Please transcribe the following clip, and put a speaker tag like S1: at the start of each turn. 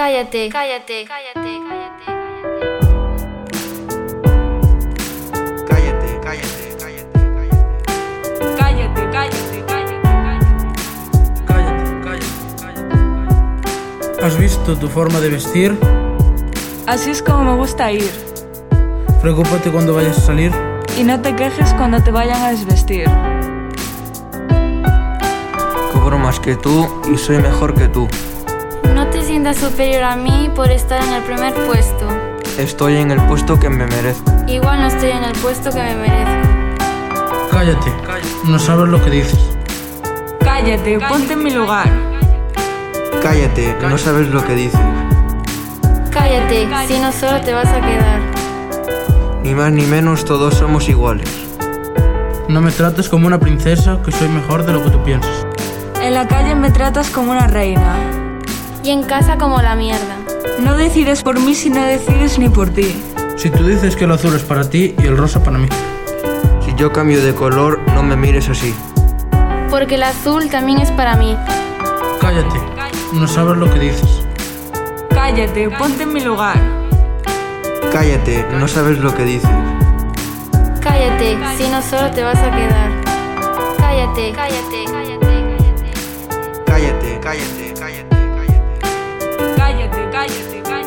S1: Cállate, cállate, cállate, cállate.
S2: Cállate, cállate, cállate, cállate.
S3: Cállate, cállate, cállate, cállate.
S4: Cállate, cállate, cállate. ¿Has visto tu forma de vestir?
S3: Así es como me gusta ir.
S4: Preocúpate cuando vayas a salir.
S3: Y no te quejes cuando te vayan a desvestir.
S5: Cobro más que tú y soy mejor que tú.
S1: No te sientas superior a mí por estar en el primer puesto.
S5: Estoy en el puesto que me merezco.
S1: Igual no estoy en el puesto que me merezco.
S4: Cállate, no sabes lo que dices.
S3: Cállate, ponte en mi lugar.
S5: Cállate, no sabes lo que dices.
S1: Cállate, si no solo te vas a quedar.
S5: Ni más ni menos todos somos iguales.
S4: No me trates como una princesa que soy mejor de lo que tú piensas.
S3: En la calle me tratas como una reina.
S1: Y en casa como la mierda.
S3: No decides por mí si no decides ni por ti.
S4: Si tú dices que el azul es para ti y el rosa para mí.
S5: Si yo cambio de color, no me mires así.
S1: Porque el azul también es para mí.
S4: Cállate, no sabes lo que dices.
S3: Cállate, ponte en mi lugar.
S5: Cállate, no sabes lo que dices.
S1: Cállate, si no solo te vas a quedar. Cállate, cállate, cállate, cállate.
S5: Cállate, cállate, cállate, cállate.
S3: Cállate, cállate, cállate.